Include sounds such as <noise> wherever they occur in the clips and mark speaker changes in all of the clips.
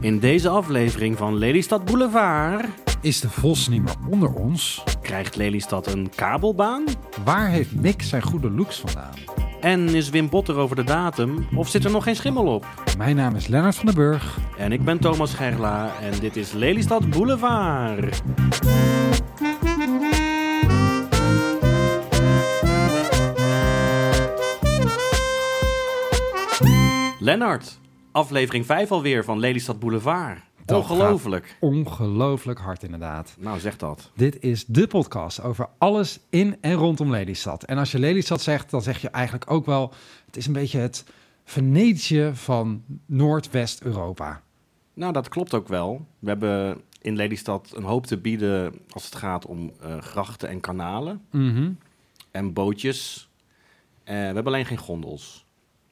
Speaker 1: In deze aflevering van Lelystad Boulevard
Speaker 2: Is de vos niet meer onder ons?
Speaker 1: krijgt Lelystad een kabelbaan.
Speaker 2: Waar heeft Mick zijn goede looks vandaan?
Speaker 1: En is Wim Botter over de datum of zit er nog geen schimmel op?
Speaker 2: Mijn naam is Lennart van den Burg.
Speaker 1: En ik ben Thomas Gerla en dit is Lelystad Boulevard. Lennart, aflevering 5 alweer van Lelystad Boulevard.
Speaker 2: Dat
Speaker 1: Ongelooflijk.
Speaker 2: Ongelooflijk hard inderdaad.
Speaker 1: Nou, zeg dat.
Speaker 2: Dit is de podcast over alles in en rondom Lelystad. En als je Lelystad zegt, dan zeg je eigenlijk ook wel... het is een beetje het Venetië van Noordwest-Europa.
Speaker 1: Nou, dat klopt ook wel. We hebben in Lelystad een hoop te bieden als het gaat om eh, grachten en kanalen
Speaker 2: Mhm.
Speaker 1: en bootjes. Eh, we hebben alleen geen gondels.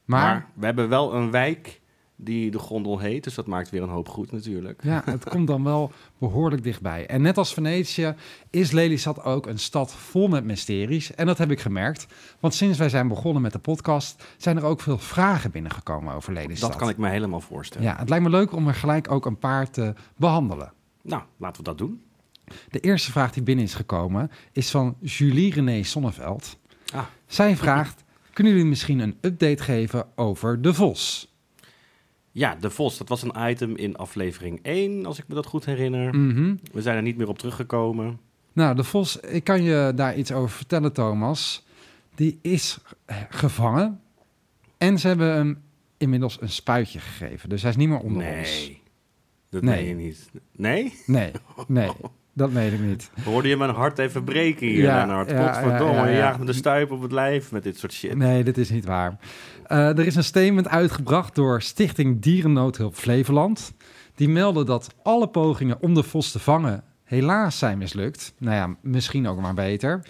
Speaker 1: Maar...
Speaker 2: Maar,
Speaker 1: we hebben wel een wijk die de gondel heet, dus dat maakt weer een hoop goed natuurlijk.
Speaker 2: ja, het komt dan wel behoorlijk dichtbij. En net als Venetië is Lelystad ook een stad vol met mysteries. En dat heb ik gemerkt. Want sinds wij zijn begonnen met de podcast... zijn er ook veel vragen binnengekomen over Lelystad.
Speaker 1: Dat kan ik me helemaal voorstellen.
Speaker 2: Ja, het lijkt me leuk om er gelijk ook een paar te behandelen.
Speaker 1: Nou, laten we dat doen.
Speaker 2: De eerste vraag die binnen is gekomen is van Julie René Sonneveld.
Speaker 1: Ah.
Speaker 2: Zij vraagt: kunnen jullie misschien een update geven over de Vos?
Speaker 1: Ja, de Vos, dat was een item in aflevering 1, als ik me dat goed herinner.
Speaker 2: Mhm.
Speaker 1: We zijn er niet meer op teruggekomen.
Speaker 2: Nou, de Vos, ik kan je daar iets over vertellen, Thomas. Die is gevangen en ze hebben hem inmiddels een spuitje gegeven. Dus hij is niet meer onder ons.
Speaker 1: Nee, dat
Speaker 2: Nee.
Speaker 1: meen je niet. Nee? <laughs>
Speaker 2: Nee, nee, dat meen ik niet.
Speaker 1: Hoorde je mijn hart even breken hier,
Speaker 2: Ja,
Speaker 1: Lennart?
Speaker 2: ja,
Speaker 1: Potverdomme,
Speaker 2: ja, ja,
Speaker 1: je
Speaker 2: ja.
Speaker 1: jaagt me de stuip op het lijf met dit soort shit.
Speaker 2: Nee, dit is niet waar. Eh, er is een statement uitgebracht door Stichting Dierennoodhulp Flevoland. Die melden dat alle pogingen om de vos te vangen helaas zijn mislukt. Nou ja, misschien ook maar beter.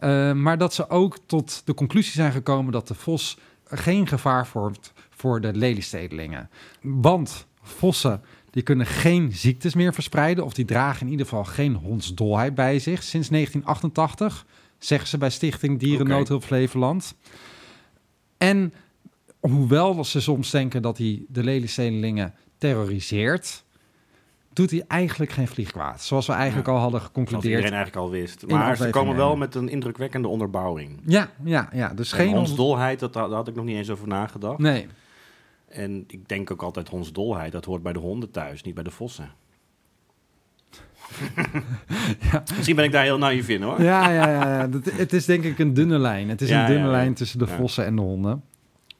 Speaker 1: Aha.
Speaker 2: Eh, maar dat ze ook tot de conclusie zijn gekomen dat de vos geen gevaar vormt voor de lelystedelingen. Want vossen die kunnen geen ziektes meer verspreiden of die dragen in ieder geval geen hondsdolheid bij zich sinds 1988, zeggen ze bij Stichting Dierennoodhulp Flevoland. En hoewel ze soms denken dat hij de lelystedelingen terroriseert, doet hij eigenlijk geen vlieg kwaad. Zoals we eigenlijk al hadden
Speaker 1: Zoals
Speaker 2: geconcludeerd.
Speaker 1: iedereen eigenlijk al wist.
Speaker 2: de
Speaker 1: Maar ze
Speaker 2: aflevering
Speaker 1: komen wel
Speaker 2: één.
Speaker 1: met een indrukwekkende onderbouwing.
Speaker 2: Ja, ja, ja. Dus
Speaker 1: Geen
Speaker 2: geen hond-
Speaker 1: hondsdolheid, dat, daar had ik nog niet eens over nagedacht.
Speaker 2: Nee,
Speaker 1: En ik denk ook altijd hondsdolheid, dat hoort bij de honden thuis, niet bij de
Speaker 2: <laughs>
Speaker 1: vossen. Misschien ben ik daar heel naïef in hoor.
Speaker 2: Ja, ja, ja. ja. Dat, het is denk ik een dunne lijn. Het is
Speaker 1: Ja,
Speaker 2: een dunne
Speaker 1: ja, ja.
Speaker 2: lijn tussen de
Speaker 1: Ja.
Speaker 2: vossen en de honden.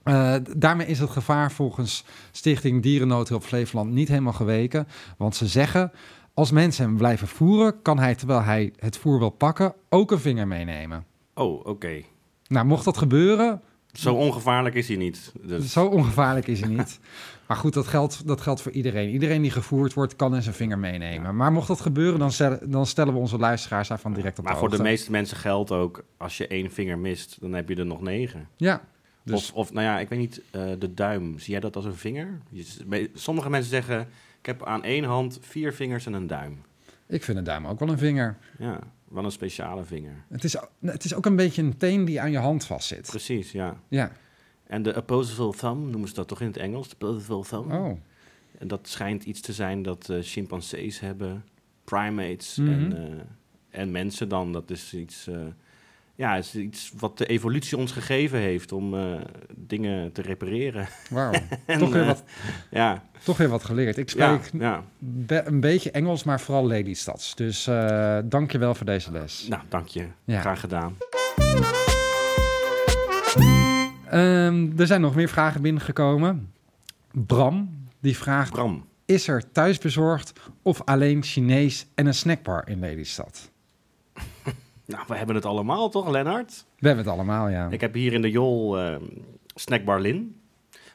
Speaker 2: Eh, d- daarmee is het gevaar volgens Stichting Dierennoodhulp Flevoland niet helemaal geweken. Want ze zeggen, als mensen hem blijven voeren... kan hij, terwijl hij het voer wil pakken, ook een vinger meenemen.
Speaker 1: Oh, oké.
Speaker 2: Nou, mocht dat gebeuren,
Speaker 1: Zo ongevaarlijk is hij niet. Dus.
Speaker 2: zo ongevaarlijk is hij
Speaker 1: <laughs>
Speaker 2: niet. Maar goed, dat geldt, dat geldt voor iedereen. Iedereen die gevoerd wordt, kan eens een vinger meenemen. Maar mocht dat gebeuren, dan stellen, dan stellen we onze luisteraars daarvan direct op
Speaker 1: Maar
Speaker 2: de
Speaker 1: voor de
Speaker 2: hoogte.
Speaker 1: meeste mensen geldt ook, als je één vinger mist, dan heb je er nog negen.
Speaker 2: Ja, dus...
Speaker 1: Of, of, nou ja, ik weet niet, eh, de duim. Zie jij dat als een vinger? Je- bij- Sommige mensen zeggen, ik heb aan één hand vier vingers en een duim.
Speaker 2: Ik vind een duim ook wel een vinger.
Speaker 1: Ja, wel een speciale vinger.
Speaker 2: Het is, het is ook een beetje een teen die aan je hand vastzit.
Speaker 1: Precies, ja.
Speaker 2: Ja.
Speaker 1: En de opposable thumb, noemen ze dat toch in het Engels? De opposable thumb.
Speaker 2: Oh.
Speaker 1: En dat schijnt iets te zijn dat eh, chimpansees hebben, primates
Speaker 2: Mhm.
Speaker 1: en, eh, en mensen dan. Dat is iets, eh, ja, is iets wat de evolutie ons gegeven heeft om eh, dingen te repareren. <laughs>
Speaker 2: Wauw.
Speaker 1: En,
Speaker 2: toch, weer
Speaker 1: eh,
Speaker 2: wat-
Speaker 1: Ja,
Speaker 2: toch weer wat geleerd. Ik
Speaker 1: ja,
Speaker 2: spreek
Speaker 1: ja.
Speaker 2: be- een beetje Engels, maar vooral Lelystads. Dus eh dank je wel voor deze les.
Speaker 1: Nou, dank je.
Speaker 2: Ja.
Speaker 1: Graag gedaan.
Speaker 2: Ehm, er zijn nog meer vragen binnengekomen. Bram, die vraagt...
Speaker 1: Bram.
Speaker 2: Is er thuisbezorgd of alleen Chinees en een snackbar in Lelystad?
Speaker 1: Nou, we hebben het allemaal toch, Lennart?
Speaker 2: We hebben het allemaal, ja.
Speaker 1: Ik heb hier in de Jol ehm, Snackbar Lin.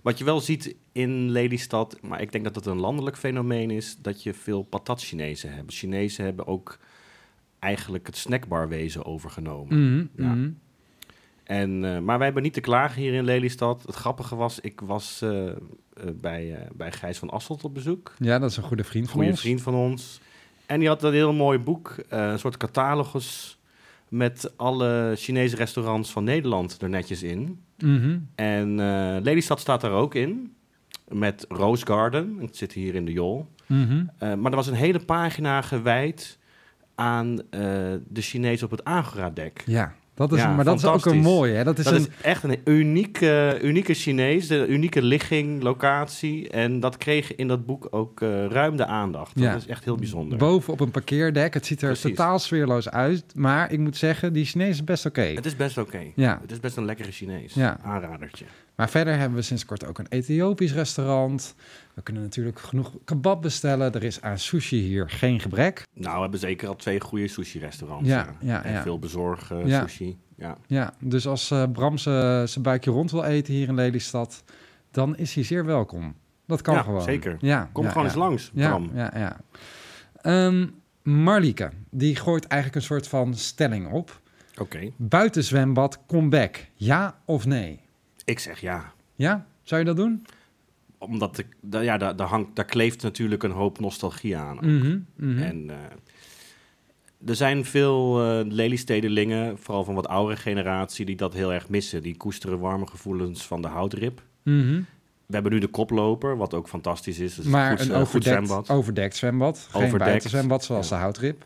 Speaker 1: Wat je wel ziet in Lelystad, maar ik denk dat dat een landelijk fenomeen is, dat je veel patat-Chinezen hebt. Chinezen hebben ook eigenlijk het snackbarwezen overgenomen.
Speaker 2: Mhm,
Speaker 1: Ja.
Speaker 2: mhm.
Speaker 1: En, eh, maar wij hebben niet te klagen hier in Lelystad. Het grappige was, ik was eh, eh, bij, eh, bij Gijs van Asselt op bezoek.
Speaker 2: ja, dat is een goede vriend van
Speaker 1: goede
Speaker 2: ons.
Speaker 1: vriend van ons. En die had een heel mooi boek, eh, een soort catalogus met alle Chinese restaurants van Nederland er netjes in.
Speaker 2: Mhm.
Speaker 1: En eh, Lelystad staat daar ook in. met Rose Garden. Het zit hier in de Jol.
Speaker 2: Mhm.
Speaker 1: Eh, maar er was een hele pagina gewijd aan eh, de Chinezen op het Agora-dek.
Speaker 2: Ja, dat is,
Speaker 1: Ja,
Speaker 2: maar dat is ook een
Speaker 1: fantastisch.
Speaker 2: mooie. Hè? Dat is
Speaker 1: dat
Speaker 2: een,
Speaker 1: is echt een unieke, unieke Chinees, de unieke ligging, locatie. En dat kreeg in dat boek ook eh, ruim de aandacht.
Speaker 2: Ja.
Speaker 1: Dat is echt heel bijzonder.
Speaker 2: boven op een parkeerdek. Het ziet er
Speaker 1: Precies.
Speaker 2: totaal sfeerloos uit. Maar ik moet zeggen, die Chinees is best oké.
Speaker 1: het is best oké.
Speaker 2: Ja.
Speaker 1: Het is best een lekkere Chinees.
Speaker 2: Ja.
Speaker 1: Aanradertje.
Speaker 2: Maar verder hebben we sinds kort ook een Ethiopisch restaurant. We kunnen natuurlijk genoeg kebab bestellen. Er is aan sushi hier geen gebrek.
Speaker 1: Nou, we hebben zeker al twee goede sushi-restaurants. eh,
Speaker 2: Ja, ja,
Speaker 1: en
Speaker 2: ja.
Speaker 1: veel bezorg eh,
Speaker 2: Ja.
Speaker 1: sushi. Ja.
Speaker 2: Ja, dus als eh, Bram zijn zijn buikje rond wil eten hier in Lelystad, dan is hij zeer welkom. Dat kan
Speaker 1: Ja,
Speaker 2: gewoon.
Speaker 1: zeker.
Speaker 2: Ja,
Speaker 1: Kom
Speaker 2: ja,
Speaker 1: gewoon
Speaker 2: ja.
Speaker 1: eens langs,
Speaker 2: Ja,
Speaker 1: Bram.
Speaker 2: ja, ja. Ehm, Marlieke, die gooit eigenlijk een soort van stelling op.
Speaker 1: Oké.
Speaker 2: Buitenzwembad, comeback. Ja of nee?
Speaker 1: Ik zeg ja.
Speaker 2: Ja? Zou je dat doen?
Speaker 1: Omdat ik, da- ja, daar, daar, hangt, daar kleeft natuurlijk een hoop nostalgie aan.
Speaker 2: Mhm, mhm.
Speaker 1: Nou, En eh, er zijn veel eh Lelystedelingen, vooral van wat oudere generatie, die dat heel erg missen. Die koesteren warme gevoelens van de houtrib.
Speaker 2: Mhm.
Speaker 1: We hebben nu de koploper, wat ook fantastisch is. Dus
Speaker 2: Maar
Speaker 1: goed,
Speaker 2: een
Speaker 1: eh, goed
Speaker 2: overdekt
Speaker 1: zwembad.
Speaker 2: zwembad. overdekt zwembad. Geen
Speaker 1: Overdekt.
Speaker 2: buitenzwembad zoals
Speaker 1: Ja.
Speaker 2: de houtrip.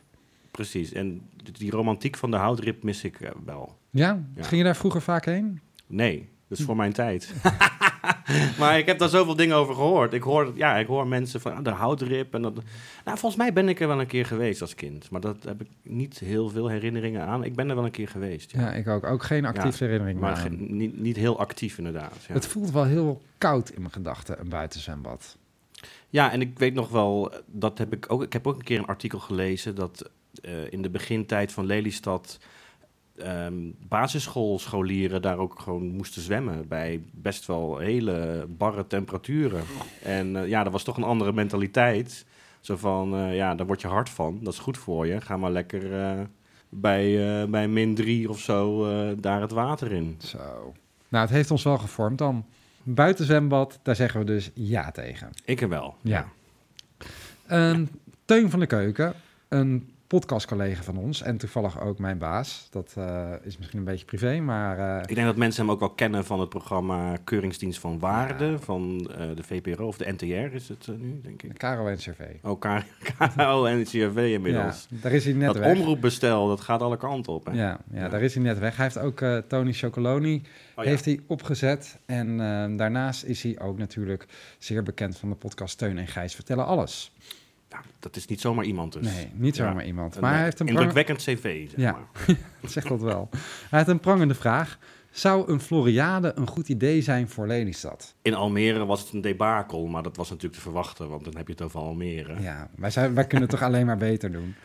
Speaker 1: Precies. En d- die romantiek van de houtrib mis ik eh, wel.
Speaker 2: Ja?
Speaker 1: Ja.
Speaker 2: Ging je daar vroeger vaak heen?
Speaker 1: Nee, dat is voor mijn tijd. <laughs> maar ik heb daar zoveel dingen over gehoord. Ik hoor, ja, ik hoor mensen van ah, de houtrib. En dat... nou, volgens mij ben ik er wel een keer geweest als kind. Maar dat heb ik niet heel veel herinneringen aan. Ik ben er wel een keer geweest. ja.
Speaker 2: Ja, ik ook. Ook geen actieve herinnering
Speaker 1: Maar
Speaker 2: meer aan.
Speaker 1: ge- niet, niet heel actief inderdaad. Ja.
Speaker 2: Het voelt wel heel koud in mijn gedachten, een buitenzwembad.
Speaker 1: ja, en ik weet nog wel, eh, dat heb ik ook. Ik heb ook een keer een artikel gelezen dat eh, in de begintijd van Lelystad ehm basisschoolscholieren daar ook gewoon moesten zwemmen bij best wel hele barre temperaturen. En eh, ja, dat was toch een andere mentaliteit. Zo van, eh, ja, daar word je hard van. Dat is goed voor je. Ga maar lekker eh, bij, eh, bij min 3 of zo eh, daar het water in.
Speaker 2: Zo. Nou, het heeft ons wel gevormd dan. Buitenzwembad, daar zeggen we dus ja tegen.
Speaker 1: Ik er wel.
Speaker 2: Ja. Ehm, Teun van de Keuken, een podcastcollega van ons en toevallig ook mijn baas. Dat eh, is misschien een beetje privé, maar eh,
Speaker 1: Ik denk dat mensen hem ook wel kennen van het programma Keuringsdienst van Waarde van eh, de VPRO of de NTR is het eh, nu, denk ik.
Speaker 2: Caro en CV.
Speaker 1: Oh, K- <laughs> KRO en het CRV inmiddels.
Speaker 2: Ja, daar is hij net
Speaker 1: dat
Speaker 2: weg.
Speaker 1: omroepbestel, dat gaat alle kanten op. Hè?
Speaker 2: Ja, ja, daar is hij net weg. Hij heeft ook eh, Tony Chocoloni
Speaker 1: Oh, ja.
Speaker 2: heeft hij opgezet. En eh, daarnaast is hij ook natuurlijk zeer bekend van de podcast Teun en Gijs vertellen alles.
Speaker 1: Ja, dat is niet zomaar iemand dus.
Speaker 2: Nee, niet
Speaker 1: Ja.
Speaker 2: zomaar iemand.
Speaker 1: Een,
Speaker 2: Maar hij
Speaker 1: eh,
Speaker 2: heeft een prang-
Speaker 1: indrukwekkend cv, zeg
Speaker 2: Ja.
Speaker 1: maar.
Speaker 2: <laughs> zegt dat wel. Hij heeft een prangende vraag. Zou een Floriade een goed idee zijn voor Lelystad?
Speaker 1: In Almere was het een debakel, maar dat was natuurlijk te verwachten, want dan heb je het over Almere.
Speaker 2: Ja, wij, zijn, wij kunnen het toch alleen maar beter
Speaker 1: <laughs>
Speaker 2: doen.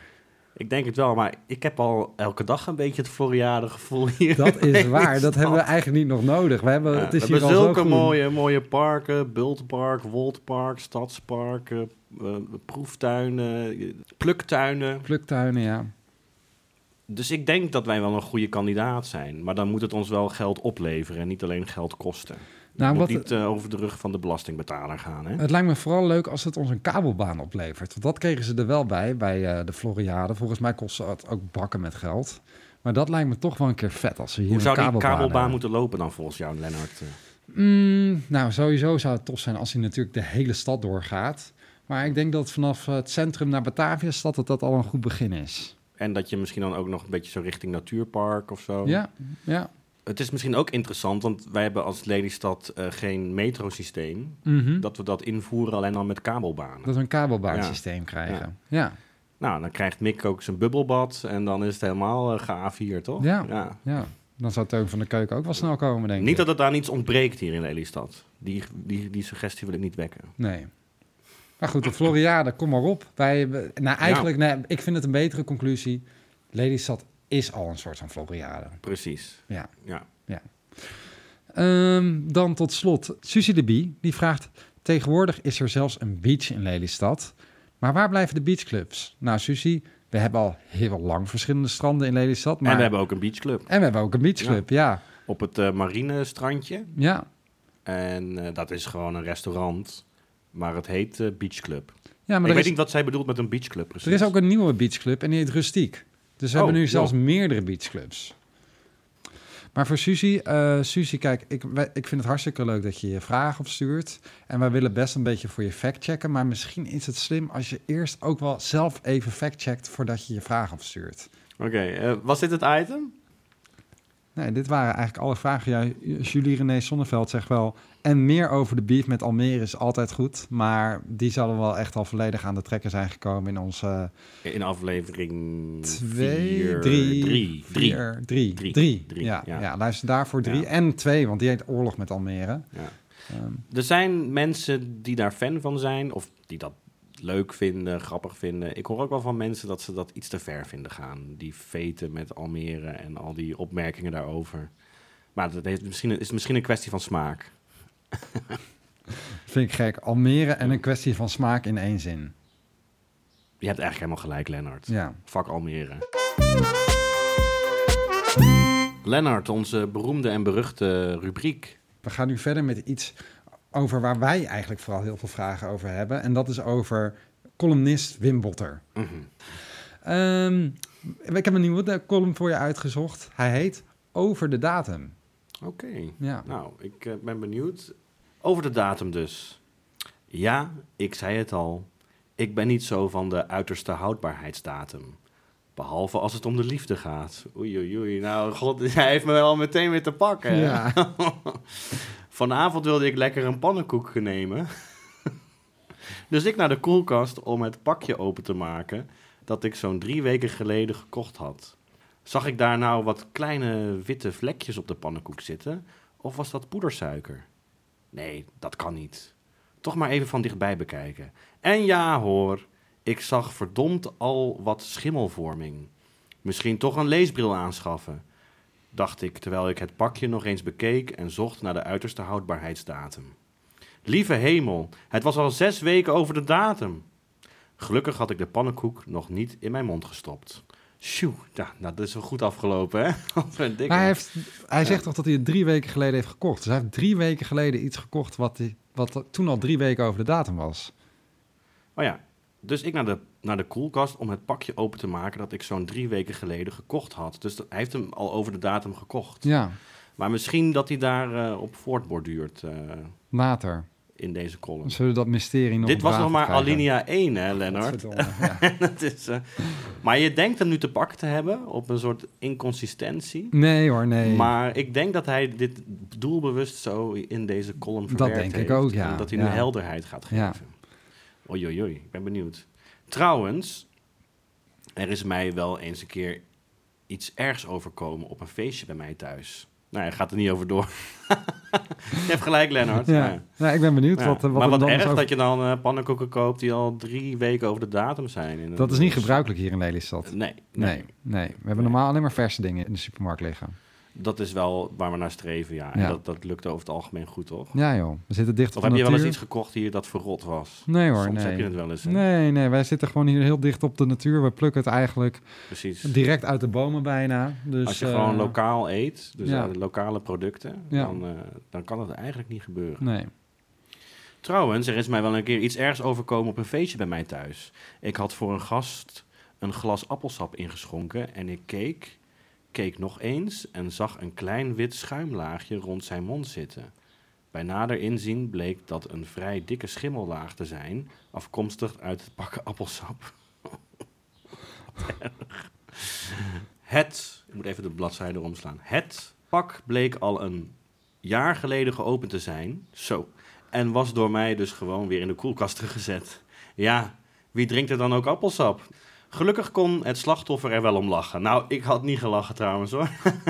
Speaker 1: Ik denk het wel, maar ik heb al elke dag een beetje het Floriade gevoel hier.
Speaker 2: Dat
Speaker 1: <laughs>
Speaker 2: is waar. Dat
Speaker 1: Lelystad.
Speaker 2: hebben we eigenlijk niet nog nodig. We hebben,
Speaker 1: Ja,
Speaker 2: Eh, het is
Speaker 1: we
Speaker 2: hier al
Speaker 1: hebben
Speaker 2: zo
Speaker 1: zulke
Speaker 2: groen.
Speaker 1: mooie, mooie parken. Bultpark, Woldpark, Stadspark, eh, eh, proeftuinen, eh, pluktuinen.
Speaker 2: Pluktuinen, ja.
Speaker 1: Dus ik denk dat wij wel een goede kandidaat zijn. Maar dan moet het ons wel geld opleveren en niet alleen geld kosten.
Speaker 2: Nou,
Speaker 1: het moet
Speaker 2: wat- Eh,
Speaker 1: niet eh, over de rug van de belastingbetaler gaan. Hè?
Speaker 2: Het lijkt me vooral leuk als het ons een kabelbaan oplevert. Want dat kregen ze er wel bij, bij eh, de Floriade. Volgens mij kostte het ook bakken met geld. Maar dat lijkt me toch wel een keer vet als we hier
Speaker 1: Hoe zou
Speaker 2: een
Speaker 1: die
Speaker 2: kabelbaan,
Speaker 1: kabelbaan
Speaker 2: hebben.
Speaker 1: moeten lopen dan volgens jou, Lennart? Eh,
Speaker 2: Mm, nou, sowieso zou het tof zijn als hij natuurlijk de hele stad doorgaat. Maar ik denk dat vanaf eh, het centrum naar Batavia stad dat dat al een goed begin is.
Speaker 1: En dat je misschien dan ook nog een beetje zo richting natuurpark of zo.
Speaker 2: Ja, ja.
Speaker 1: Het is misschien ook interessant, want wij hebben als Lelystad eh, geen metrosysteem.
Speaker 2: Mhm. Dat,
Speaker 1: Dat we dat invoeren alleen dan met kabelbanen.
Speaker 2: we een kabelbaansysteem krijgen. Ja.
Speaker 1: Nou, dan krijgt Mick ook zijn bubbelbad en dan is het helemaal eh, gaaf hier, toch?
Speaker 2: Ja. ja, Dan zou Teun van de Keuken ook wel snel komen, denk
Speaker 1: Niet
Speaker 2: ik.
Speaker 1: dat het aan iets ontbreekt hier in Lelystad. Die, die, die suggestie wil ik niet wekken.
Speaker 2: Nee. Maar goed, de Floriade, kom maar op. Wij, hebben- nou, eigenlijk, nee, ik vind het een betere conclusie. Lelystad is al een soort van Floriade.
Speaker 1: Precies.
Speaker 2: Ja.
Speaker 1: Ja.
Speaker 2: Ehm, dan tot slot, Suzy de Bie, die vraagt... Tegenwoordig is er zelfs een beach in Lelystad. Maar waar blijven de beachclubs? Nou, Suzy, we hebben al heel lang verschillende stranden in Lelystad. Maar...
Speaker 1: En we hebben ook een beachclub
Speaker 2: en we hebben ook een beachclub, ja.
Speaker 1: op het eh, marinestrandje.
Speaker 2: Ja,
Speaker 1: En eh, dat is gewoon een restaurant, maar het heet eh, beachclub.
Speaker 2: ja maar
Speaker 1: ik
Speaker 2: er
Speaker 1: weet
Speaker 2: is,
Speaker 1: niet wat zij bedoelt met een beachclub precies.
Speaker 2: er is ook een nieuwe beachclub en die heet Rustiek. Dus we
Speaker 1: Oh,
Speaker 2: hebben nu
Speaker 1: joh.
Speaker 2: zelfs meerdere beachclubs. Maar voor Suzy, eh Suzy, kijk, ik, wij- ik vind het hartstikke leuk dat je je vragen opstuurt. En wij willen best een beetje voor je factchecken. Maar misschien is het slim als je eerst ook wel zelf even factcheckt voordat je je vraag opstuurt.
Speaker 1: Oké, eh, was dit het item?
Speaker 2: Nee, dit waren eigenlijk alle vragen. Ja, Julie René Sonneveld zegt wel... en meer over de beef met Almere is altijd goed... maar die zouden wel echt al volledig aan de trekken zijn gekomen... in onze
Speaker 1: In aflevering
Speaker 2: 2,
Speaker 1: vier-
Speaker 2: 3,
Speaker 1: drie,
Speaker 2: 3,
Speaker 1: drie.
Speaker 2: 4, 3.
Speaker 1: Drie. Drie,
Speaker 2: Ja,
Speaker 1: ja.
Speaker 2: ja. luister daarvoor 3
Speaker 1: Ja.
Speaker 2: en 2, want die heet Oorlog met Almere.
Speaker 1: Ja.
Speaker 2: Ehm,
Speaker 1: Er zijn mensen die daar fan van zijn, of die dat leuk vinden, grappig vinden. Ik hoor ook wel van mensen dat ze dat iets te ver vinden gaan. Die veten met Almere en al die opmerkingen daarover. Maar dat heeft misschien, is misschien een kwestie van smaak.
Speaker 2: vind ik gek. Almere en een kwestie van smaak in één zin.
Speaker 1: Je hebt eigenlijk helemaal gelijk, Lennart.
Speaker 2: Ja.
Speaker 1: Fuck Almere. Lennart, onze beroemde en beruchte rubriek.
Speaker 2: We gaan nu verder met iets over waar wij eigenlijk vooral heel veel vragen over hebben. En dat is over columnist Wim Botter.
Speaker 1: Mhm.
Speaker 2: Ehm, ik heb een nieuwe eh, column voor je uitgezocht. Hij heet Over de datum.
Speaker 1: Oké.
Speaker 2: Ja.
Speaker 1: Nou, ik eh, ben benieuwd. Over de datum dus. Ja, ik zei het al. Ik ben niet zo van de uiterste houdbaarheidsdatum. Behalve als het om de liefde gaat. Oei, oei, oei. Nou, god, <laughs> hij heeft me wel meteen weer te pakken.
Speaker 2: Ja.
Speaker 1: <laughs> Vanavond wilde ik lekker een pannenkoek nemen. <laughs> dus ik naar de koelkast om het pakje open te maken dat ik zo'n drie weken geleden gekocht had. Zag ik daar nou wat kleine witte vlekjes op de pannenkoek zitten? Of was dat poedersuiker? Nee, dat kan niet. Toch maar even van dichtbij bekijken. En ja hoor, ik zag verdomd al wat schimmelvorming. Misschien toch een leesbril aanschaffen dacht ik terwijl ik het pakje nog eens bekeek en zocht naar de uiterste houdbaarheidsdatum. Lieve hemel, het was al zes weken over de datum. Gelukkig had ik de pannenkoek nog niet in mijn mond gestopt. Sjoe, ja, nou, dat is wel goed afgelopen, hè? <laughs> Wat een dikke.
Speaker 2: Maar hij, heeft, hij zegt toch dat hij het drie weken geleden heeft gekocht. Dus hij heeft drie weken geleden iets gekocht wat, hij, wat toen al drie weken over de datum was.
Speaker 1: Oh ja, dus ik naar de, naar de koelkast om het pakje open te maken dat ik zo'n drie weken geleden gekocht had. Dus dat- hij heeft hem al over de datum gekocht.
Speaker 2: Ja,
Speaker 1: Maar misschien dat hij daar eh op voortborduurt eh,
Speaker 2: later.
Speaker 1: in deze column.
Speaker 2: Zullen we dat mysterie nog
Speaker 1: Dit was nog maar
Speaker 2: Alinea
Speaker 1: alinea 1, hè, <laughs> Lennart? Het is, eh, maar je denkt hem nu te pakken te hebben op een soort inconsistentie.
Speaker 2: Nee hoor, nee.
Speaker 1: Maar ik denk dat hij dit doelbewust zo in deze column
Speaker 2: Dat
Speaker 1: verwerkt
Speaker 2: denk ik
Speaker 1: heeft.
Speaker 2: ook, ja.
Speaker 1: En Dat hij
Speaker 2: Ja.
Speaker 1: nu helderheid gaat
Speaker 2: Ja.
Speaker 1: geven. Oei, oei, oei. Ik ben benieuwd. Trouwens, er is mij wel eens een keer iets ergs overkomen op een feestje bij mij thuis. Nou, hij gaat er niet over door. <laughs> je hebt gelijk, Lennart.
Speaker 2: ja.
Speaker 1: Ja.
Speaker 2: Nou, ik ben benieuwd
Speaker 1: Ja,
Speaker 2: wat, eh, wat
Speaker 1: maar
Speaker 2: hem
Speaker 1: wat
Speaker 2: dan
Speaker 1: erg
Speaker 2: is over-
Speaker 1: dat je dan eh, pannenkoeken koopt die al drie weken over de datum zijn. En
Speaker 2: Dat is niet gebruikelijk hier in Lelystad.
Speaker 1: Nee, nee.
Speaker 2: Nee, nee. We hebben
Speaker 1: Nee.
Speaker 2: normaal alleen maar verse dingen in de supermarkt liggen.
Speaker 1: Dat is wel waar we naar streven, ja. En
Speaker 2: Ja.
Speaker 1: dat, dat lukt over het algemeen goed, toch?
Speaker 2: Ja joh, we zitten dicht
Speaker 1: Of
Speaker 2: op
Speaker 1: heb
Speaker 2: de
Speaker 1: je wel
Speaker 2: natuur.
Speaker 1: eens iets gekocht hier dat verrot was?
Speaker 2: Nee hoor,
Speaker 1: Soms
Speaker 2: nee.
Speaker 1: heb je het wel eens. hè?
Speaker 2: Nee, nee, wij zitten gewoon hier heel dicht op de natuur. We plukken het eigenlijk
Speaker 1: Precies.
Speaker 2: direct uit de bomen bijna. Dus,
Speaker 1: Als je
Speaker 2: eh,
Speaker 1: gewoon lokaal eet, dus
Speaker 2: ja.
Speaker 1: aan de lokale producten,
Speaker 2: Ja.
Speaker 1: dan, eh, dan kan het eigenlijk niet gebeuren.
Speaker 2: Nee.
Speaker 1: Trouwens, er is mij wel een keer iets ergs overkomen op een feestje bij mij thuis. Ik had voor een gast een glas appelsap ingeschonken en ik keek, keek nog eens en zag een klein wit schuimlaagje rond zijn mond zitten. Bij nader inzien bleek dat een vrij dikke schimmellaag te zijn, afkomstig uit het pakken appelsap. <laughs> Wat erg. Het, ik moet even de bladzijde omslaan. Het pak bleek al een jaar geleden geopend te zijn. Zo. En was door mij dus gewoon weer in de koelkast gezet. Ja, wie drinkt er dan ook appelsap? Gelukkig kon het slachtoffer er wel om lachen. Nou, ik had niet gelachen trouwens hoor.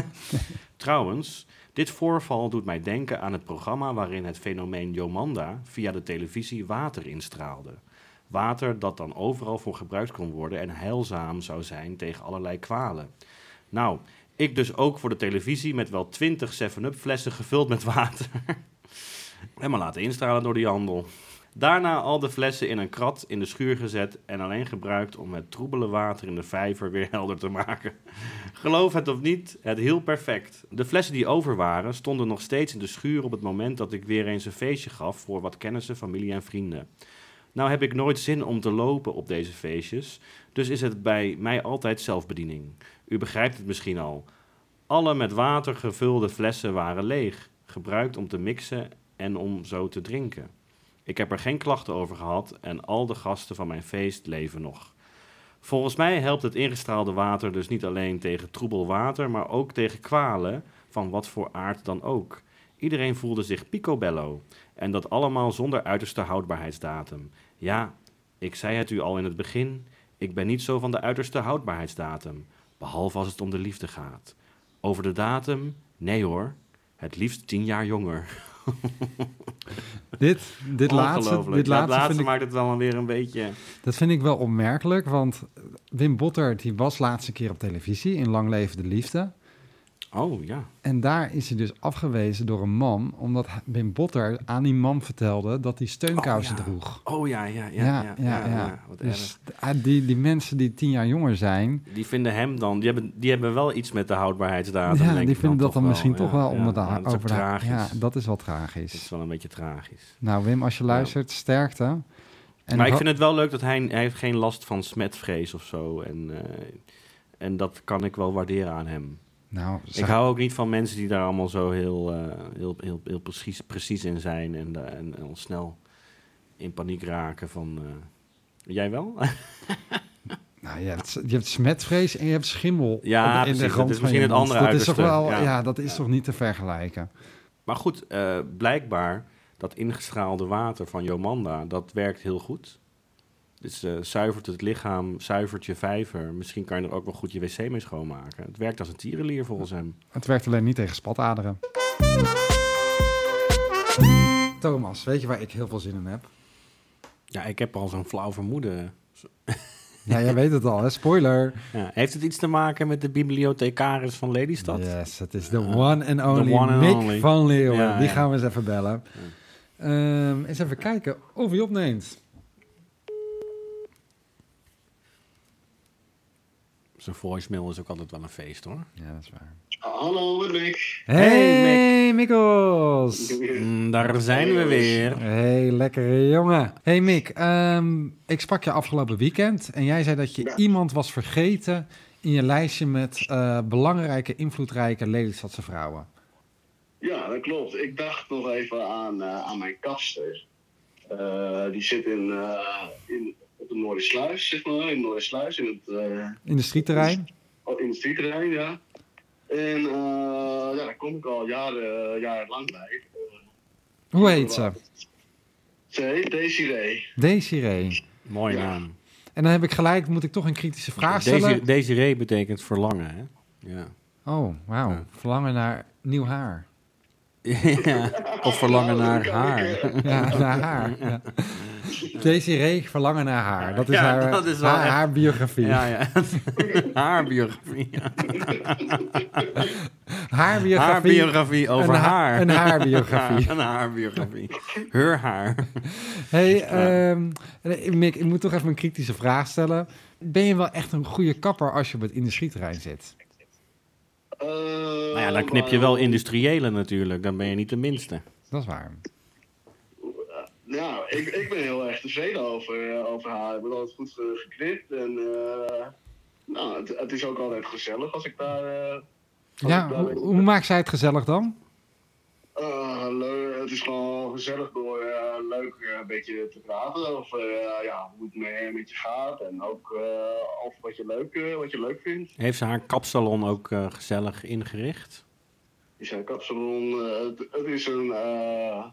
Speaker 1: <laughs> trouwens, dit voorval doet mij denken aan het programma waarin het fenomeen Jomanda via de televisie water instraalde. Water dat dan overal voor gebruikt kon worden en heilzaam zou zijn tegen allerlei kwalen. Nou, ik dus ook voor de televisie met wel 20 7-up flessen gevuld met water. Helemaal laten instralen door die handel. Daarna al de flessen in een krat in de schuur gezet en alleen gebruikt om het troebele water in de vijver weer helder te maken. Geloof het of niet, het hielp perfect. De flessen die over waren stonden nog steeds in de schuur op het moment dat ik weer eens een feestje gaf voor wat kennissen, familie en vrienden. Nou heb ik nooit zin om te lopen op deze feestjes, dus is het bij mij altijd zelfbediening. U begrijpt het misschien al. Alle met water gevulde flessen waren leeg, gebruikt om te mixen en om zo te drinken. Ik heb er geen klachten over gehad en al de gasten van mijn feest leven nog. Volgens mij helpt het ingestraalde water dus niet alleen tegen troebel water, maar ook tegen kwalen van wat voor aard dan ook. Iedereen voelde zich picobello en dat allemaal zonder uiterste houdbaarheidsdatum. Ja, ik zei het u al in het begin, ik ben niet zo van de uiterste houdbaarheidsdatum, behalve als het om de liefde gaat. Over de datum? Nee hoor, het liefst tien jaar jonger.
Speaker 2: Dit, dit laatste,
Speaker 1: Ongelooflijk.
Speaker 2: dit
Speaker 1: Ja, het
Speaker 2: laatste vind ik,
Speaker 1: maakt het wel weer een beetje...
Speaker 2: dat vind ik wel opmerkelijk. Want Wim Botter die was laatste keer op televisie in Lang Leven de Liefde.
Speaker 1: Oh ja,
Speaker 2: En daar is hij dus afgewezen door een man. Omdat hij- Wim Botter aan die man vertelde dat hij steunkousen
Speaker 1: Oh, ja.
Speaker 2: droeg.
Speaker 1: oh ja, ja, ja, ja, ja, ja, wat erg.
Speaker 2: Dus ah, die, die mensen die tien jaar jonger zijn,
Speaker 1: Die vinden hem dan, die hebben, die hebben wel iets met de houdbaarheidsdatum.
Speaker 2: ja,
Speaker 1: denk
Speaker 2: die
Speaker 1: ik
Speaker 2: vinden dat
Speaker 1: toch
Speaker 2: dan
Speaker 1: wel.
Speaker 2: misschien
Speaker 1: Ja,
Speaker 2: toch wel
Speaker 1: ja,
Speaker 2: onder de
Speaker 1: ja,
Speaker 2: haar
Speaker 1: dat is ook
Speaker 2: over de
Speaker 1: tragisch.
Speaker 2: Ja, dat is wel
Speaker 1: Dat is
Speaker 2: tragisch.
Speaker 1: wel een beetje tragisch.
Speaker 2: Nou, Wim, als je luistert, sterkte. En
Speaker 1: maar ik
Speaker 2: ho-
Speaker 1: vind het wel leuk dat hij, hij heeft geen last van smetvrees of zo. En, eh, en dat kan ik wel waarderen aan hem.
Speaker 2: nou,
Speaker 1: Ik
Speaker 2: zeg-
Speaker 1: hou ook niet van mensen die daar allemaal zo heel, eh, heel, heel, heel precies, precies in zijn. En, eh, en, en al snel in paniek raken van... eh, jij wel? <laughs>
Speaker 2: nou, je, hebt, je hebt smetvrees en je hebt schimmel.
Speaker 1: Ja,
Speaker 2: op- in
Speaker 1: precies,
Speaker 2: de
Speaker 1: dat
Speaker 2: grond
Speaker 1: is
Speaker 2: van
Speaker 1: misschien
Speaker 2: je
Speaker 1: het
Speaker 2: mond.
Speaker 1: andere
Speaker 2: dat is toch
Speaker 1: uiterste,
Speaker 2: wel,
Speaker 1: ja.
Speaker 2: ja. dat is toch niet te vergelijken.
Speaker 1: Maar goed, eh, blijkbaar dat ingestraalde water van Jomanda, dat werkt heel goed. Dus eh, zuivert het lichaam, zuivert je vijver. Misschien kan je er ook wel goed je wc mee schoonmaken. Het werkt als een tierenlier volgens hem.
Speaker 2: Het werkt alleen niet tegen spataderen. Thomas, weet je waar ik heel veel zin in
Speaker 1: <laughs>
Speaker 2: heb?
Speaker 1: Ja, ik heb al zo'n flauw vermoeden.
Speaker 2: Ja, jij weet het al, hè? Spoiler.
Speaker 1: Ja, heeft het iets te maken met de bibliothecaris van Lelystad?
Speaker 2: Yes, het is de one and only
Speaker 1: one and
Speaker 2: Mick
Speaker 1: only.
Speaker 2: van Leeuwen.
Speaker 1: Ja,
Speaker 2: Die
Speaker 1: ja.
Speaker 2: gaan we eens even bellen. Ehm, eens even kijken of hij opneemt.
Speaker 1: Zijn voicemail is ook altijd wel een feest hoor.
Speaker 2: Ja, dat is waar.
Speaker 3: Hallo, met Mick.
Speaker 2: Hey,
Speaker 1: Hey,
Speaker 2: Mikkels!
Speaker 1: Mm, daar zijn we weer.
Speaker 2: Hey, lekkere jongen. Hey Mick, ehm, ik sprak je afgelopen weekend en jij zei dat je
Speaker 3: Ja.
Speaker 2: iemand was vergeten in je lijstje met eh, belangrijke, invloedrijke Lelystadse vrouwen.
Speaker 3: <laughs> Ja, dat klopt. Ik dacht nog even aan, eh, aan mijn kapster. Eh, die zit in, eh, in, op de Noordersluis, zeg maar. In Noordersluis, in het eh,
Speaker 2: Industrieterrein?
Speaker 3: oh, industrieterrein, ja. En eh, ja, daar kom ik al jaren, eh, jaren lang bij. Eh,
Speaker 2: Hoe heet ze?
Speaker 3: Ze heet Desiree.
Speaker 2: Desiree.
Speaker 1: Mooie
Speaker 3: Ja.
Speaker 1: naam.
Speaker 2: En dan heb ik gelijk, moet ik toch een kritische vraag stellen?
Speaker 1: Deze, deze ree betekent verlangen hè? Ja. <laughs>
Speaker 2: Oh, wauw.
Speaker 1: Ja.
Speaker 2: Verlangen naar nieuw
Speaker 1: <laughs>
Speaker 2: haar.
Speaker 1: Ja, Of
Speaker 3: Nou,
Speaker 1: verlangen naar haar.
Speaker 2: Ja, naar haar. Ja. Desiree, verlangen naar haar. Dat is
Speaker 1: Ja,
Speaker 2: haar,
Speaker 1: dat is wel
Speaker 2: haar,
Speaker 1: echt-
Speaker 2: haar biografie.
Speaker 1: Ja, ja. <laughs> Haar biografie.
Speaker 2: Haar biografie.
Speaker 1: Haar biografie over
Speaker 2: een ha-
Speaker 1: <laughs> haar.
Speaker 2: Een haarbiografie.
Speaker 1: Ja, een haar biografie. Heur haar.
Speaker 2: Hey, ehm, Mick, ik moet toch even een kritische vraag stellen. Ben je wel echt een goede kapper als je op het industrieterrein zit?
Speaker 3: Eh,
Speaker 1: <laughs> Nou ja, dan knip je wel industriële natuurlijk. Dan ben je niet de minste.
Speaker 2: Dat is waar.
Speaker 1: Oh,
Speaker 3: Nou, ik, ik ben heel erg tevreden over, eh, over haar. Ik ben altijd goed eh, geknipt en eh, nou, het, het is ook altijd gezellig als ik daar... eh, als
Speaker 2: Ja,
Speaker 3: ik daar
Speaker 2: hoe,
Speaker 3: ben.
Speaker 2: hoe maakt zij het gezellig dan?
Speaker 3: Eh, leu- het is gewoon gezellig door eh, leuk eh, een beetje te praten over eh, ja, hoe het met, met je gaat en ook eh over wat je, leuk, eh, wat je leuk vindt.
Speaker 1: Heeft ze haar kapsalon ook eh, gezellig ingericht?
Speaker 3: Die zijn kapsalon, eh, het, het is een... eh,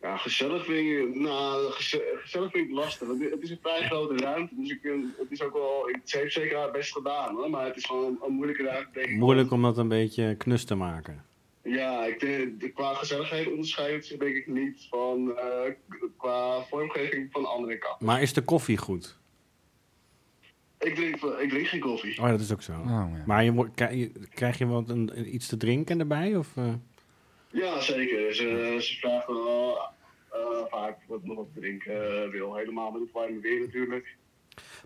Speaker 3: ja, gezellig vind ik, nou, geze- gezellig vind ik lastig. Het, het is een vrij grote ruimte, dus ik, vind- het is ook wel, ik- ze heeft zeker haar best gedaan hoor, maar het is gewoon een, een moeilijke ruimte. Denk ik.
Speaker 1: Moeilijk om dat een beetje knus te maken.
Speaker 3: Ja, ik denk, de- qua gezelligheid onderscheidt het zich denk ik niet van, eh, k- qua vormgeving van andere kant.
Speaker 1: Maar is de koffie goed?
Speaker 3: Ik drink, ik drink geen koffie.
Speaker 1: Oh, dat is ook zo.
Speaker 2: Oh, ja.
Speaker 1: Maar je, mo- kri- je- krijg je wat een, iets te drinken erbij? Of, eh?
Speaker 3: Ja, zeker. Ze, ze vraagt me wel eh, vaak wat nog wat drinken eh, wil. Helemaal met het warme weer natuurlijk.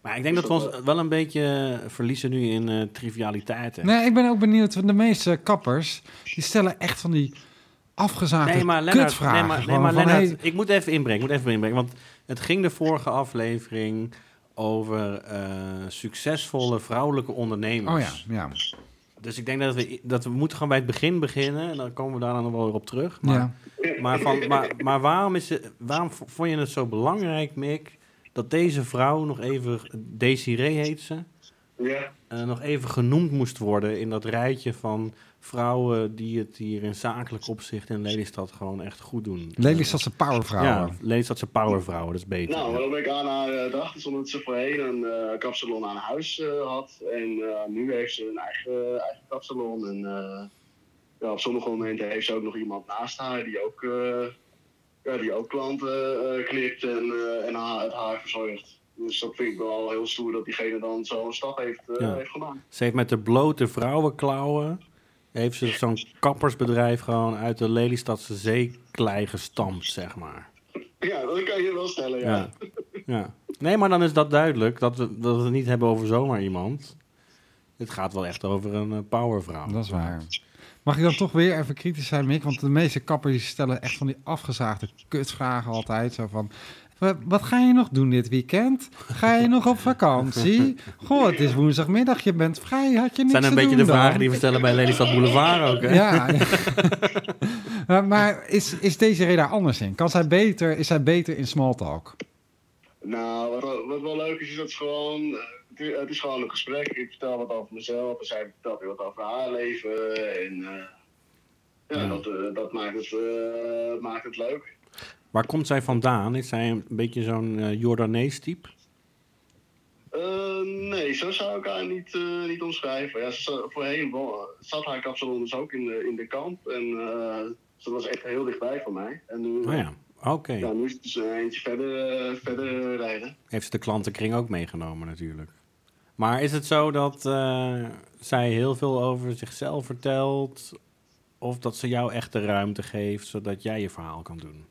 Speaker 1: Maar ik denk dat we ons wel een beetje verliezen nu in eh, trivialiteiten.
Speaker 2: Nee, ik ben ook benieuwd. want De meeste kappers die stellen echt van die afgezaagde
Speaker 1: Nee, maar Lennart,
Speaker 2: kutvragen.
Speaker 1: nee, maar, nee,
Speaker 2: Gewoon
Speaker 1: maar
Speaker 2: van,
Speaker 1: Lennart,
Speaker 2: hey,
Speaker 1: ik moet even inbrengen, ik moet even inbrengen. Want het ging de vorige aflevering over eh, succesvolle vrouwelijke ondernemers.
Speaker 2: Oh ja, ja.
Speaker 1: Dus ik denk dat we, dat we moeten gewoon bij het begin beginnen. En dan komen we daarna nog wel weer op terug. Maar,
Speaker 2: ja.
Speaker 1: maar, van, maar, maar waarom, is het, waarom v- vond je het zo belangrijk, Mick... dat deze vrouw nog even... Desiree heet ze.
Speaker 3: Ja,
Speaker 1: eh, nog even genoemd moest worden in dat rijtje van vrouwen... die het hier in zakelijk opzicht in Lelystad gewoon echt goed doen. Eh,
Speaker 2: Lelystadse
Speaker 1: Ja,
Speaker 2: powervrouwen.
Speaker 1: Lelystadse powervrouwen, dat is beter.
Speaker 3: nou,
Speaker 1: ja.
Speaker 3: waarom ik aan haar eh, dacht, is omdat ze voorheen een eh, kapsalon aan huis eh, had. En eh, nu heeft ze een eigen, eh, eigen kapsalon. En eh, ja, op sommige momenten heeft ze ook nog iemand naast haar die ook, eh, ja, die ook klanten eh knipt en, eh, en haar, het haar verzorgt. Dus dat vind ik wel heel stoer dat diegene dan zo'n stap heeft, eh,
Speaker 1: Ja.
Speaker 3: heeft gemaakt.
Speaker 1: Ze heeft met de blote vrouwenklauwen... heeft ze zo'n kappersbedrijf gewoon uit de Lelystadse zeeklei gestampt, zeg maar.
Speaker 3: Ja, dat kan je wel stellen, ja.
Speaker 1: Ja. ja. Nee, maar dan is dat duidelijk. Dat we, dat we het niet hebben over zomaar iemand. Het gaat wel echt over een eh, powervrouw.
Speaker 2: Dat is waar. Mag ik dan toch weer even kritisch zijn, Mick? Want de meeste kappers die stellen echt van die afgezaagde kutvragen altijd. Zo van, "Wa- wat ga je nog doen dit weekend? Ga je nog op
Speaker 1: <laughs>
Speaker 2: vakantie? Goh, het is woensdagmiddag, je bent vrij, had je niks
Speaker 1: zijn
Speaker 2: te
Speaker 1: een beetje
Speaker 2: doen
Speaker 1: de vragen
Speaker 2: dan?"
Speaker 1: die we stellen bij Lelystad Boulevard ook. Hè?
Speaker 2: Ja. <laughs> Ja, maar is, is deze reden daar anders in? Kan zij beter, is zij beter in small talk?
Speaker 3: Nou, wat, wat wel leuk is, is dat ze gewoon. eh, Het is, het is gewoon een gesprek. Ik vertel wat over mezelf en zij vertelt weer wat over haar leven. En eh, ja,
Speaker 1: Ja.
Speaker 3: dat, eh, dat maakt, het, eh, maakt het leuk.
Speaker 1: Waar komt zij vandaan? Is zij een beetje zo'n eh, Jordanees type?
Speaker 3: Eh, nee, zo zou ik haar niet, eh, niet omschrijven. Ja, ze, za- voorheen wo- zat haar kapsalon dus ook in de, in de kamp. En eh, ze was echt heel dichtbij van mij. En nu,
Speaker 1: Oh ja, oké.
Speaker 3: ja, nu is het dus een eindje verder, eh, verder rijden.
Speaker 1: Heeft ze de klantenkring ook meegenomen natuurlijk. Maar is het zo dat eh, zij heel veel over zichzelf vertelt? Of dat ze jou echt de ruimte geeft, zodat jij je verhaal kan doen?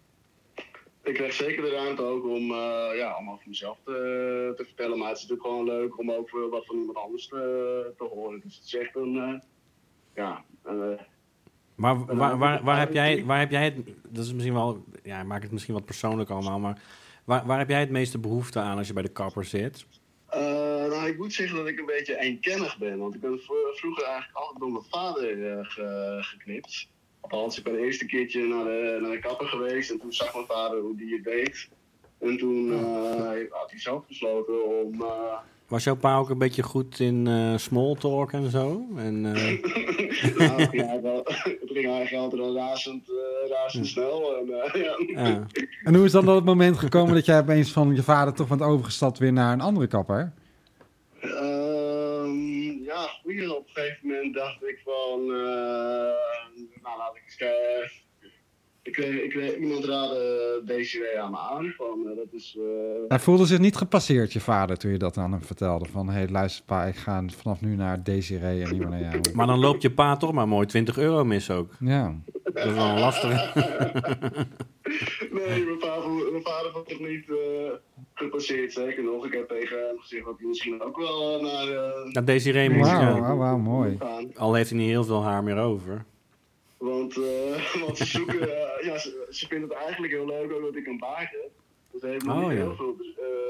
Speaker 3: Ik kreeg zeker de ruimte ook om, eh, ja, om over mezelf te, te vertellen. Maar het is natuurlijk gewoon leuk om ook eh, wat van iemand anders te, te horen. Dus het is echt een. eh, ja, eh,
Speaker 1: Maar
Speaker 3: dan
Speaker 1: waar,
Speaker 3: heb
Speaker 1: waar,
Speaker 3: Eh, ik-
Speaker 1: waar, heb jij, waar heb jij het... Dat is misschien wel... Ja, ik maak het misschien wat persoonlijk allemaal, maar... Waar, waar heb jij het meeste behoefte aan als je bij de kapper zit?
Speaker 3: eh, nou, ik moet zeggen dat ik een beetje eenkennig ben. Want ik ben v- vroeger eigenlijk altijd door mijn vader eh, ge- geknipt. Althans, ik ben eerst een keertje naar de, naar de kapper geweest. En toen zag mijn vader hoe die het deed. En toen eh, had hij zelf besloten om. eh,
Speaker 1: Was jouw pa ook een beetje goed in eh small talk en zo? En, eh,
Speaker 3: <laughs>
Speaker 2: <laughs>
Speaker 3: Nou, het ging eigenlijk wel- <laughs> het ging eigenlijk altijd al razend, eh, razend snel. En, eh, ja.
Speaker 1: ja.
Speaker 2: En hoe is dan dat het moment gekomen dat jij opeens van je vader toch bent overgestapt weer naar een andere kapper?
Speaker 3: Ehm, ja, goeie. Op een gegeven moment dacht ik van, eh, nou laat ik eens kijken. Ik kreeg, ik kreeg iemand raadde DCW aan me aan. Van, eh, dat is, eh, <laughs>
Speaker 2: Hij voelde zich niet gepasseerd, je vader, toen je dat aan hem vertelde. Van, hé, hey, luister pa, ik ga vanaf nu naar Desiree en niet meer naar jou.
Speaker 1: Maar dan loopt je pa toch maar mooi 20 euro mis ook.
Speaker 2: Ja,
Speaker 1: Dat is wel <laughs> lastig.
Speaker 3: nee, mijn vader, mijn vader vond het niet eh, gepasseerd. Zeker nog, ik heb tegen hem gezegd dat hij misschien ook wel naar... eh,
Speaker 1: Dat Desiree moet...
Speaker 2: wauw,
Speaker 1: ja.
Speaker 2: wauw, wauw, mooi.
Speaker 3: gaan.
Speaker 1: Al heeft hij niet heel veel haar meer over.
Speaker 3: Want, eh, <laughs> want ze zoeken, eh, ja, ze, ze vinden het eigenlijk heel leuk ook dat ik een baard heb. Dus er heeft nog
Speaker 1: Oh,
Speaker 3: niet
Speaker 1: ja.
Speaker 3: heel veel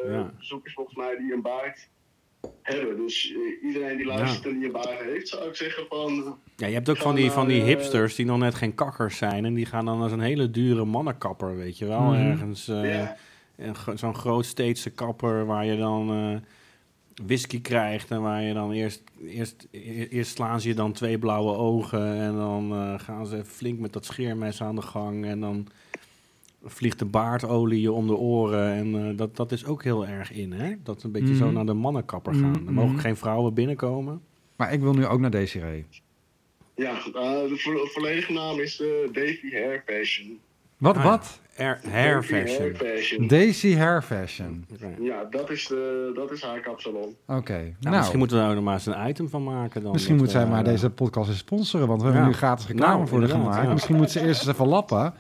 Speaker 3: eh,
Speaker 1: Ja.
Speaker 3: bezoekers volgens mij die een baard hebben. Dus eh, iedereen die luistert en die een baard heeft, zou ik zeggen van, eh,
Speaker 1: Ja, je hebt ook van die, van die hipsters die nog net geen kakkers zijn. En die gaan dan naar zo'n hele dure mannenkapper, weet je wel.
Speaker 2: Mhm.
Speaker 1: Ergens... eh,
Speaker 3: ja,
Speaker 1: een gro- zo'n groot steedse kapper waar je dan eh, whisky krijgt en waar je dan eerst, eerst, e- eerst slaan ze je dan twee blauwe ogen en dan eh, gaan ze flink met dat scheermes aan de gang en dan vliegt de baardolie je om de oren en eh, dat, dat is ook heel erg in hè, dat we een beetje zo
Speaker 2: Mhm.
Speaker 1: naar de mannenkapper gaan. Er
Speaker 2: Mhm.
Speaker 1: mogen geen vrouwen binnenkomen.
Speaker 2: Maar ik wil nu ook naar Desiree.
Speaker 3: ja eh, de vo- volledige naam is eh, Davy Hair Fashion.
Speaker 2: Wat,
Speaker 1: Ah, ja.
Speaker 2: wat?
Speaker 1: Hair, hair
Speaker 3: Davy
Speaker 1: fashion.
Speaker 3: Hair Fashion.
Speaker 2: Daisy Hair Fashion.
Speaker 1: Oké. Nou,
Speaker 3: ja, dat is, de, dat is haar kapsalon.
Speaker 2: Oké, nou,
Speaker 1: misschien
Speaker 2: misschien,
Speaker 1: moeten we daar ook nog maar eens een item van maken dan. eh, Dat
Speaker 2: moet
Speaker 1: we
Speaker 2: zij maar
Speaker 1: daar-
Speaker 2: deze podcast eens sponsoren, want we hebben
Speaker 1: Ja.
Speaker 2: nu gratis reclame
Speaker 1: Nou,
Speaker 2: voor haar
Speaker 1: inderdaad,
Speaker 2: gemaakt.
Speaker 1: ja.
Speaker 2: Misschien moet ze eerst eens even lappen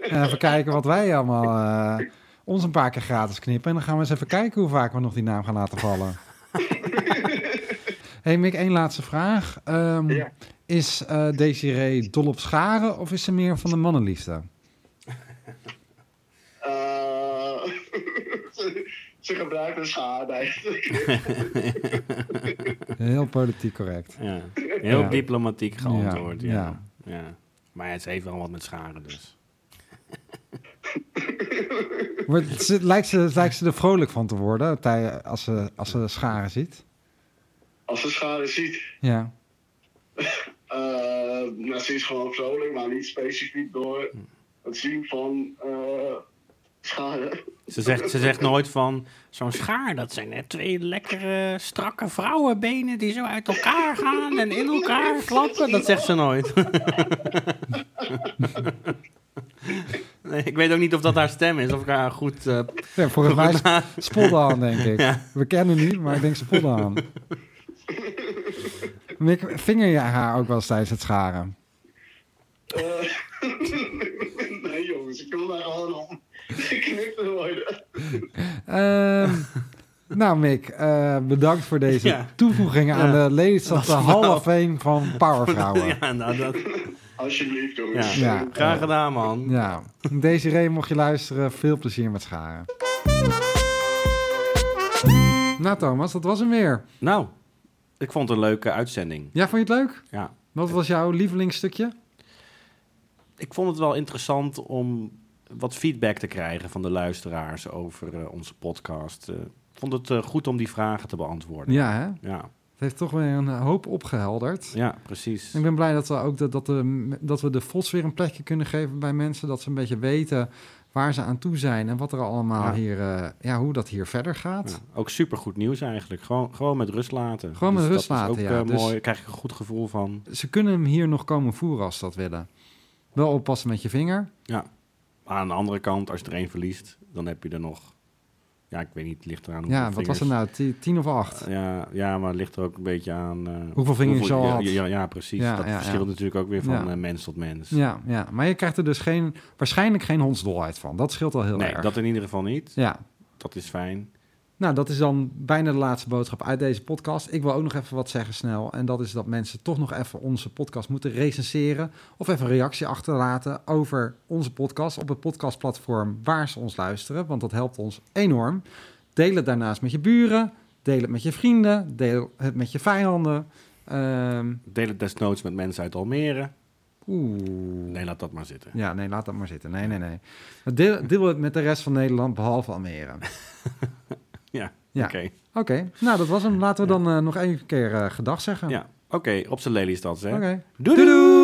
Speaker 2: en even kijken wat wij allemaal... eh, ons een paar keer gratis knippen en dan gaan we eens even kijken hoe vaak we nog die naam gaan laten vallen. hey Mick, één laatste vraag.
Speaker 1: Mm.
Speaker 2: Ehm,
Speaker 3: Ja.
Speaker 2: Is eh Desiree dol op scharen of is ze meer van de mannenliefde?
Speaker 3: Eh, <laughs> Ze gebruikt een schaar eigenlijk.
Speaker 2: Heel politiek correct.
Speaker 1: Ja. Heel
Speaker 2: Ja.
Speaker 1: diplomatiek geantwoord. Ja.
Speaker 2: ja.
Speaker 1: Ja. Maar het heeft wel wat met scharen dus.
Speaker 2: Maar het, ze- lijkt ze, het lijkt ze er vrolijk van te worden tij- als ze, als ze scharen ziet.
Speaker 3: Als ze schade ziet,
Speaker 2: Ja.
Speaker 3: eh nou, ze is gewoon vrolijk, maar niet specifiek door het zien van eh schade.
Speaker 1: Ze zegt, ze zegt nooit van, zo'n schaar, dat zijn net twee lekkere, strakke vrouwenbenen die zo uit elkaar gaan en in elkaar klappen. Dat zegt ze nooit. <laughs> Nee, ik weet ook niet of dat haar stem is, of ik haar goed... eh,
Speaker 2: ja volgens mij sp- spot aan, denk ik. We kennen niet, maar ik denk spot aan. Mick, vinger je haar ook wel eens tijdens het scharen?
Speaker 3: Eh, <laughs> nee jongens, ik wil daar gewoon om <laughs> geknipt te worden.
Speaker 2: Ehm, nou, Mick, eh, bedankt voor deze
Speaker 1: Ja.
Speaker 2: toevoegingen aan
Speaker 1: Ja.
Speaker 2: de Lelystad de Hall of Fame
Speaker 1: <laughs>
Speaker 2: van Powervrouwen. Ja.
Speaker 1: ja, nou, dat,
Speaker 3: Alsjeblieft jongens.
Speaker 2: Ja. Ja.
Speaker 1: graag gedaan, man.
Speaker 2: Desiree, mocht je luisteren, veel plezier met scharen. Nou, Thomas, dat was hem weer.
Speaker 1: Nou, ik vond het een leuke uitzending.
Speaker 2: Ja, vond je het leuk?
Speaker 1: Ja.
Speaker 2: Wat was jouw lievelingsstukje?
Speaker 1: Ik vond het wel interessant om wat feedback te krijgen van de luisteraars over eh, onze podcast. Eh, ik vond het eh, goed om die vragen te beantwoorden.
Speaker 2: Ja, hè?
Speaker 1: ja,
Speaker 2: Het heeft toch weer een hoop opgehelderd.
Speaker 1: ja, precies.
Speaker 2: Ik ben blij dat we ook de, dat, de, dat we de Vos weer een plekje kunnen geven bij mensen. Dat ze een beetje weten waar ze aan toe zijn en wat er allemaal
Speaker 1: Ja.
Speaker 2: hier, eh, ja, hoe dat hier verder gaat.
Speaker 1: Ja, ook supergoed nieuws eigenlijk. Gewoon, gewoon met rust laten.
Speaker 2: Gewoon met
Speaker 1: dat
Speaker 2: rust laten,
Speaker 1: is ook
Speaker 2: ja.
Speaker 1: eh,
Speaker 2: Dus-
Speaker 1: mooi. Daar krijg ik een goed gevoel van.
Speaker 2: Ze kunnen hem hier nog komen voeren als ze dat willen. Wel oppassen met je vinger.
Speaker 1: Maar aan de andere kant, als je er één verliest, dan heb je er nog... Ja, ik weet niet, het ligt eraan
Speaker 2: ja, wat was er
Speaker 1: het
Speaker 2: nou? Ti- Tien of acht?
Speaker 1: Ja, ja, maar het ligt er ook een beetje aan... eh,
Speaker 2: Hoeveel vingers je al
Speaker 1: ja,
Speaker 2: had.
Speaker 1: ja, ja, precies.
Speaker 2: Ja,
Speaker 1: dat
Speaker 2: ja, ja.
Speaker 1: verschilt natuurlijk ook weer van
Speaker 2: Ja.
Speaker 1: eh, mens tot mens.
Speaker 2: ja, ja, maar je krijgt er dus geen, waarschijnlijk geen hondsdolheid van. Dat scheelt al heel
Speaker 1: nee,
Speaker 2: erg.
Speaker 1: dat in ieder geval niet.
Speaker 2: Ja,
Speaker 1: Dat is fijn.
Speaker 2: Nou, dat is dan bijna de laatste boodschap uit deze podcast. Ik wil ook nog even wat zeggen snel. En dat is dat mensen toch nog even onze podcast moeten recenseren. Of even een reactie achterlaten over onze podcast op het podcastplatform waar ze ons luisteren. Want dat helpt ons enorm. Deel het daarnaast met je buren. Deel het met je vrienden. Deel het met je vijanden. Ehm,
Speaker 1: Deel het desnoods met mensen uit Almere.
Speaker 2: Oeh.
Speaker 1: Nee, laat dat maar zitten.
Speaker 2: Ja, nee, laat dat maar zitten. Nee, nee, nee. Deel, deel het met de rest van Nederland behalve Almere.
Speaker 1: Ja,
Speaker 2: Ja.
Speaker 1: oké.
Speaker 2: Oké, nou dat was hem. Laten we dan eh, nog één keer eh, gedag zeggen.
Speaker 1: Ja, oké. Op zijn lelystad, hè.
Speaker 2: Oké.
Speaker 1: doei! doei!